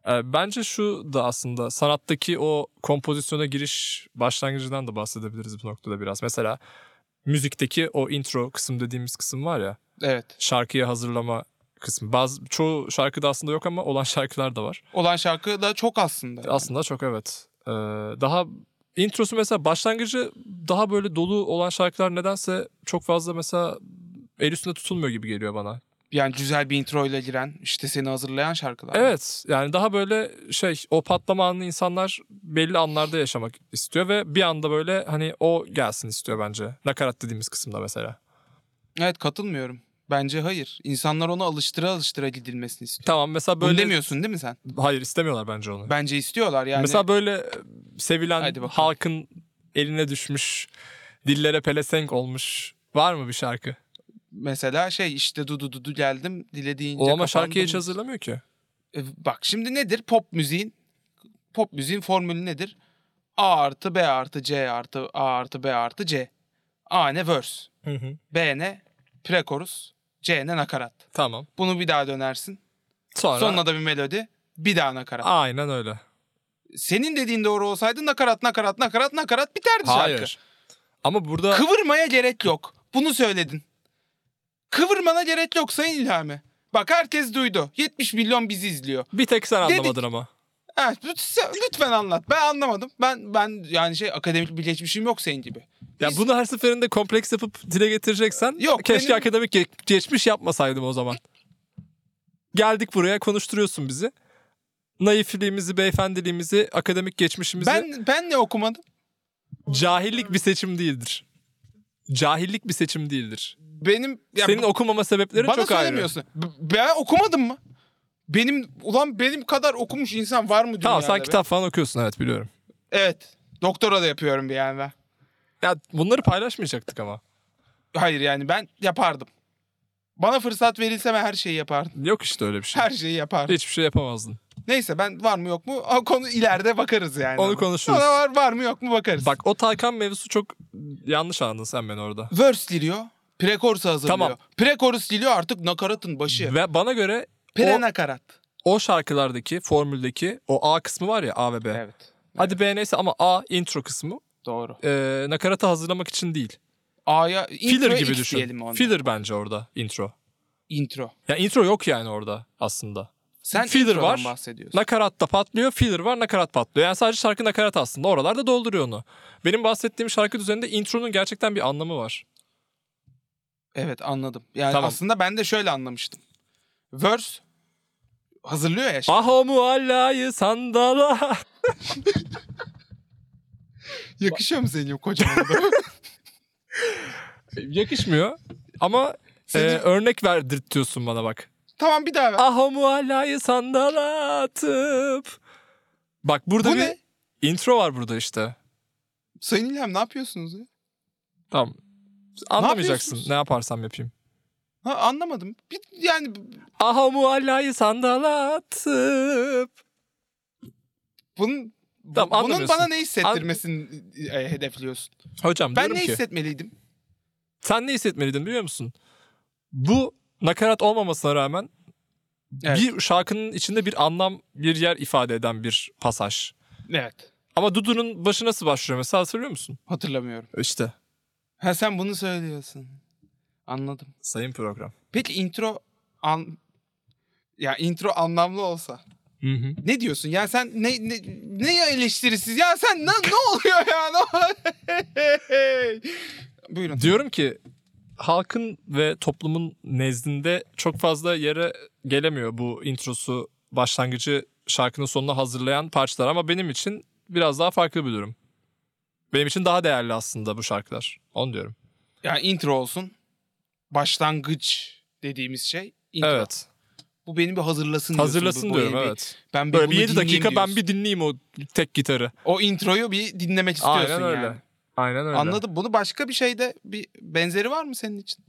Speaker 2: Ee, bence şu da aslında sanattaki o kompozisyona giriş başlangıcından da bahsedebiliriz bu noktada biraz. Mesela müzikteki o intro kısım dediğimiz kısım var ya
Speaker 1: Evet.
Speaker 2: şarkıyı hazırlama kısmı. Bazı çoğu şarkıda aslında yok ama olan şarkılar da var.
Speaker 1: Olan şarkı da çok aslında.
Speaker 2: Aslında çok evet. Ee, daha introsu mesela başlangıcı daha böyle dolu olan şarkılar nedense çok fazla mesela el üstünde tutulmuyor gibi geliyor bana.
Speaker 1: Yani güzel bir intro ile giren, işte seni hazırlayan şarkılar.
Speaker 2: Evet yani daha böyle şey o patlama anını insanlar belli anlarda yaşamak istiyor ve bir anda böyle hani o gelsin istiyor bence. Nakarat dediğimiz kısımda mesela.
Speaker 1: Evet katılmıyorum. Bence hayır. İnsanlar ona alıştıra alıştıra gidilmesini istiyor.
Speaker 2: Tamam mesela
Speaker 1: Bunu
Speaker 2: böyle
Speaker 1: demiyorsun değil mi sen?
Speaker 2: hayır istemiyorlar bence onu.
Speaker 1: Bence istiyorlar yani.
Speaker 2: Mesela böyle sevilen
Speaker 1: Hadi bakalım.
Speaker 2: halkın eline düşmüş dillere pelesenk olmuş var mı bir şarkı?
Speaker 1: Mesela şey işte du du du du geldim dilediğince
Speaker 2: O ama
Speaker 1: kapandım.
Speaker 2: şarkıyı hiç hazırlamıyor ki.
Speaker 1: E, Bak şimdi nedir pop müziğin? Pop müziğin formülü nedir? A artı B artı C artı A artı B artı C. A ne verse, B ne prekorus, C ne nakarat.
Speaker 2: Tamam.
Speaker 1: Bunu bir daha dönersin.
Speaker 2: Sonra
Speaker 1: Sonuna da bir melodi, bir daha nakarat.
Speaker 2: aynen öyle.
Speaker 1: Senin dediğin doğru olsaydı nakarat nakarat nakarat nakarat biterdi şarkı.
Speaker 2: Hayır. Ama burada
Speaker 1: Kıvırmaya gerek yok. Bunu söyledin. Kıvırmana gerek yok Sayın İlhami. Bak herkes duydu. 70 milyon bizi izliyor.
Speaker 2: bir tek sen
Speaker 1: Dedik.
Speaker 2: anlamadın ama.
Speaker 1: Evet, lütfen, lütfen anlat. Ben anlamadım. Ben ben yani şey akademik bir geçmişim yok senin gibi.
Speaker 2: Ya
Speaker 1: Biz-
Speaker 2: bunu her seferinde kompleks yapıp dile getireceksen
Speaker 1: Yok,
Speaker 2: keşke
Speaker 1: benim-
Speaker 2: akademik ge- geçmiş yapmasaydım o zaman. Geldik buraya konuşturuyorsun bizi. Naifliğimizi, beyefendiliğimizi, akademik geçmişimizi.
Speaker 1: Ben ben ne okumadım?
Speaker 2: Cahillik bir seçim değildir. Cahillik bir seçim değildir.
Speaker 1: Benim ya
Speaker 2: Senin
Speaker 1: bu-
Speaker 2: okumama sebepleri
Speaker 1: bana
Speaker 2: çok ayrı.
Speaker 1: söylemiyorsun. B- Ben okumadım mı? Benim ulan benim kadar okumuş insan var mı dünyada?
Speaker 2: Tamam sen
Speaker 1: be?
Speaker 2: kitap falan okuyorsun evet biliyorum.
Speaker 1: Evet. Doktora da yapıyorum bir yani ben.
Speaker 2: Ya bunları paylaşmayacaktık ama.
Speaker 1: Hayır yani ben yapardım. Bana fırsat verilse ben her şeyi yapardım.
Speaker 2: Yok işte öyle bir şey.
Speaker 1: Her şeyi yapardım.
Speaker 2: Hiçbir şey yapamazdın.
Speaker 1: Neyse ben var mı yok mu o konu ileride bakarız yani.
Speaker 2: Onu konuşuruz.
Speaker 1: Ona var, var mı yok mu bakarız.
Speaker 2: Bak o Tarkan mevzusu çok yanlış anladın sen beni orada.
Speaker 1: Verse diliyor. Prekorsa hazırlıyor.
Speaker 2: Tamam.
Speaker 1: Prekorus diliyor artık nakaratın başı.
Speaker 2: Ve bana göre
Speaker 1: Pre
Speaker 2: o,
Speaker 1: nakarat.
Speaker 2: o şarkılardaki formüldeki o A kısmı var ya A ve B.
Speaker 1: Evet.
Speaker 2: Hadi B neyse ama A intro kısmı
Speaker 1: Doğru.
Speaker 2: e, nakarata hazırlamak için değil.
Speaker 1: A'ya
Speaker 2: Filler
Speaker 1: intro
Speaker 2: gibi
Speaker 1: X
Speaker 2: düşün.
Speaker 1: diyelim ona.
Speaker 2: Filler bence orada intro.
Speaker 1: intro.
Speaker 2: Ya intro yok yani orada aslında.
Speaker 1: Sen
Speaker 2: Filler
Speaker 1: introdan
Speaker 2: var.
Speaker 1: bahsediyorsun.
Speaker 2: Nakarat da patlıyor, filler var, nakarat patlıyor. Yani sadece şarkı nakarat aslında. Oralarda dolduruyor onu. Benim bahsettiğim şarkı düzeninde intronun gerçekten bir anlamı var.
Speaker 1: Evet anladım. Yani
Speaker 2: Tamam.
Speaker 1: aslında ben de şöyle anlamıştım. Verse hazırlıyor ya. şimdi.
Speaker 2: Ah o muallayı sandala.
Speaker 1: Yakışıyor mu senin kocaman? da?
Speaker 2: Yakışmıyor ama e,
Speaker 1: Senin-
Speaker 2: örnek verdirtiyorsun bana bak.
Speaker 1: tamam bir daha ver.
Speaker 2: Ah o muallayı sandala atıp. Bak burada
Speaker 1: Bu
Speaker 2: bir
Speaker 1: ne?
Speaker 2: intro var burada işte.
Speaker 1: Sayın İlham ne yapıyorsunuz ya?
Speaker 2: Tamam. Anlamayacaksın
Speaker 1: yapıyorsunuz?
Speaker 2: ne, yaparsam yapayım.
Speaker 1: Ha, anlamadım. Bir, yani
Speaker 2: Ah o muallayı sandala atıp.
Speaker 1: bunun bu-
Speaker 2: Tamam,
Speaker 1: bunun
Speaker 2: anlamıyorsun.
Speaker 1: bana ne hissettirmesini e, hedefliyorsun?
Speaker 2: Hocam
Speaker 1: Ben
Speaker 2: diyorum
Speaker 1: ne
Speaker 2: ki.
Speaker 1: hissetmeliydim?
Speaker 2: Sen ne hissetmeliydin biliyor musun? Bu nakarat olmamasına rağmen
Speaker 1: Evet.
Speaker 2: bir şarkının içinde bir anlam, bir yer ifade eden bir pasaj.
Speaker 1: Evet.
Speaker 2: Ama Dudu'nun başı nasıl başlıyor mesela hatırlıyor musun?
Speaker 1: Hatırlamıyorum.
Speaker 2: İşte.
Speaker 1: Ha sen bunu söylüyorsun. Anladım.
Speaker 2: Sayın program.
Speaker 1: Peki intro an ya intro anlamlı olsa
Speaker 2: Hı hı.
Speaker 1: ne diyorsun? Ya sen ne ne ne eleştirisiz? Ya sen ne ne oluyor ya? Ne- Buyurun.
Speaker 2: Diyorum ki halkın ve toplumun nezdinde çok fazla yere gelemiyor bu introsu, başlangıcı şarkının sonuna hazırlayan parçalar ama benim için biraz daha farklı bir durum. Benim için daha değerli aslında bu şarkılar. Onu diyorum.
Speaker 1: Ya intro olsun. Başlangıç dediğimiz şey intro.
Speaker 2: Evet.
Speaker 1: Bu beni bir hazırlasın diyorsun.
Speaker 2: Hazırlasın
Speaker 1: Bu- bu
Speaker 2: diyorum
Speaker 1: yeni bir-
Speaker 2: evet.
Speaker 1: Ben
Speaker 2: Böyle
Speaker 1: bunu
Speaker 2: bir 7
Speaker 1: dinleyeyim
Speaker 2: dakika ben
Speaker 1: diyorsun.
Speaker 2: bir dinleyeyim o tek gitarı.
Speaker 1: o introyu bir dinlemek istiyorsun
Speaker 2: Aynen öyle.
Speaker 1: yani.
Speaker 2: Aynen öyle.
Speaker 1: Anladım. Bunu başka bir şeyde bir benzeri var mı senin için?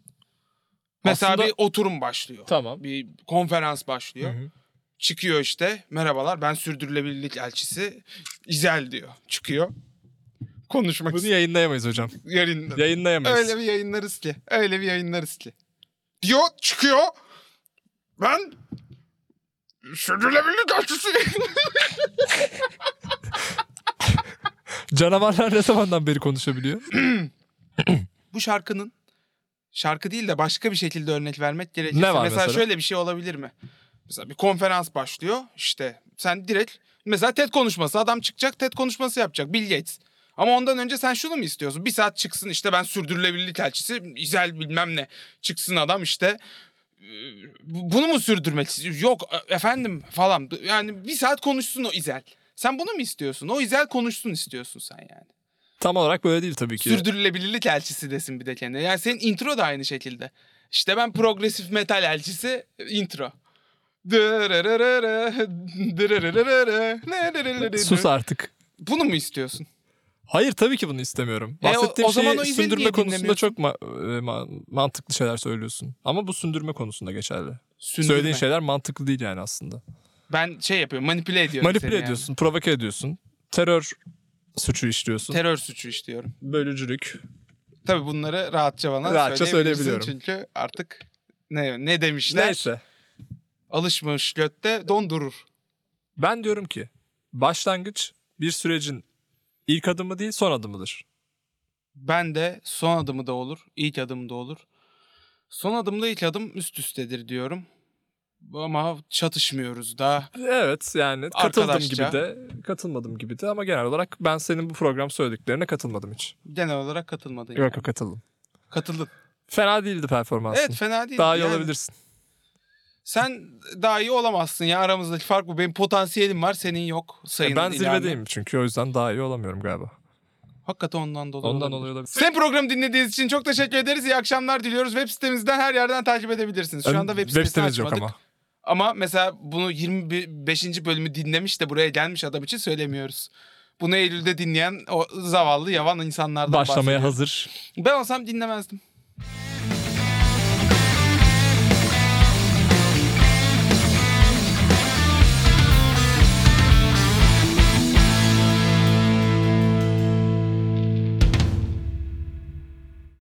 Speaker 1: Mesela
Speaker 2: Aslında-
Speaker 1: bir oturum başlıyor.
Speaker 2: Tamam.
Speaker 1: Bir konferans başlıyor.
Speaker 2: Hı hı.
Speaker 1: Çıkıyor işte. Merhabalar ben sürdürülebilirlik elçisi İzel diyor. Çıkıyor. Konuşmak
Speaker 2: Bunu
Speaker 1: istiyor.
Speaker 2: yayınlayamayız hocam.
Speaker 1: Yarın-
Speaker 2: Yayınlayamayız.
Speaker 1: Öyle bir yayınlarız ki. Öyle bir yayınlarız ki. Diyor çıkıyor. Ben sürdürülebilirlik elçisi.
Speaker 2: Canavarlar ne zamandan beri konuşabiliyor?
Speaker 1: bu şarkının şarkı değil de başka bir şekilde örnek vermek gerekirse.
Speaker 2: Ne var mesela?
Speaker 1: şöyle bir şey olabilir mi? Mesela bir konferans başlıyor işte sen direkt mesela TED konuşması adam çıkacak TED konuşması yapacak Bill Gates. Ama ondan önce sen şunu mu istiyorsun? Bir saat çıksın işte ben sürdürülebilirlik elçisi İzel bilmem ne çıksın adam işte e, bu- bunu mu sürdürmek istiyorsun? Yok e, efendim falan yani bir saat konuşsun o İzel. Sen bunu mu istiyorsun? O İzel konuşsun istiyorsun sen yani.
Speaker 2: Tam olarak böyle değil tabii ki.
Speaker 1: Sürdürülebilirlik elçisi desin bir de kendine. Yani senin intro da aynı şekilde. İşte ben progresif metal elçisi intro. Dırırırırı, dırırırırı, nırırırırı.
Speaker 2: Sus artık.
Speaker 1: Bunu mu istiyorsun?
Speaker 2: Hayır tabii ki bunu istemiyorum.
Speaker 1: E, o-
Speaker 2: Bahsettiğim
Speaker 1: o zaman o
Speaker 2: şeyi
Speaker 1: izin
Speaker 2: sündürme
Speaker 1: niye
Speaker 2: konusunda
Speaker 1: dinlemiyorsun?
Speaker 2: çok ma- e, ma- mantıklı şeyler söylüyorsun. Ama bu sündürme konusunda geçerli.
Speaker 1: Sündürme.
Speaker 2: Söylediğin şey- şeyler mantıklı değil yani aslında.
Speaker 1: Ben şey yapıyorum manipüle ediyorum seni
Speaker 2: Manipüle
Speaker 1: yani.
Speaker 2: ediyorsun, provoke ediyorsun. Terör suçu işliyorsun.
Speaker 1: Terör suçu işliyorum.
Speaker 2: Bölücülük.
Speaker 1: Tabii bunları rahatça bana
Speaker 2: Rahatça
Speaker 1: söyleyebilirsin
Speaker 2: söyleyebiliyorum.
Speaker 1: Çünkü artık ne, ne demişler?
Speaker 2: Neyse.
Speaker 1: Alışmış götte dondurur.
Speaker 2: Ben diyorum ki başlangıç bir sürecin ilk adımı değil son adımıdır.
Speaker 1: Ben de son adımı da olur, ilk adım da olur. Son adımla ilk adım üst üstedir diyorum. Ama çatışmıyoruz da.
Speaker 2: Evet yani katıldım
Speaker 1: Arkadaşça.
Speaker 2: gibi de katılmadım gibi de ama genel olarak ben senin bu program söylediklerine katılmadım hiç.
Speaker 1: Genel olarak katılmadın. yani.
Speaker 2: Yok yok katıldım.
Speaker 1: Katıldın.
Speaker 2: Fena değildi performansın.
Speaker 1: Evet fena değil.
Speaker 2: Daha iyi
Speaker 1: Yani
Speaker 2: olabilirsin.
Speaker 1: Sen daha iyi olamazsın ya aramızdaki fark bu. Benim potansiyelim var senin yok. Sayın
Speaker 2: E, ben zirvedeyim çünkü o yüzden daha iyi olamıyorum galiba.
Speaker 1: Hakikaten ondan dolayı.
Speaker 2: Ondan
Speaker 1: olabilir.
Speaker 2: dolayı olabilir.
Speaker 1: Sizin programı dinlediğiniz için çok teşekkür ederiz. İyi akşamlar diliyoruz. Web sitemizden her yerden takip edebilirsiniz. Şu anda web, sitesi
Speaker 2: sitemiz yok
Speaker 1: açmadık.
Speaker 2: ama.
Speaker 1: Ama mesela bunu 25. bölümü dinlemiş de buraya gelmiş adam için söylemiyoruz. Bunu Eylül'de dinleyen o zavallı yavan insanlardan
Speaker 2: Başlamaya
Speaker 1: bahsediyorum.
Speaker 2: hazır.
Speaker 1: Ben olsam dinlemezdim.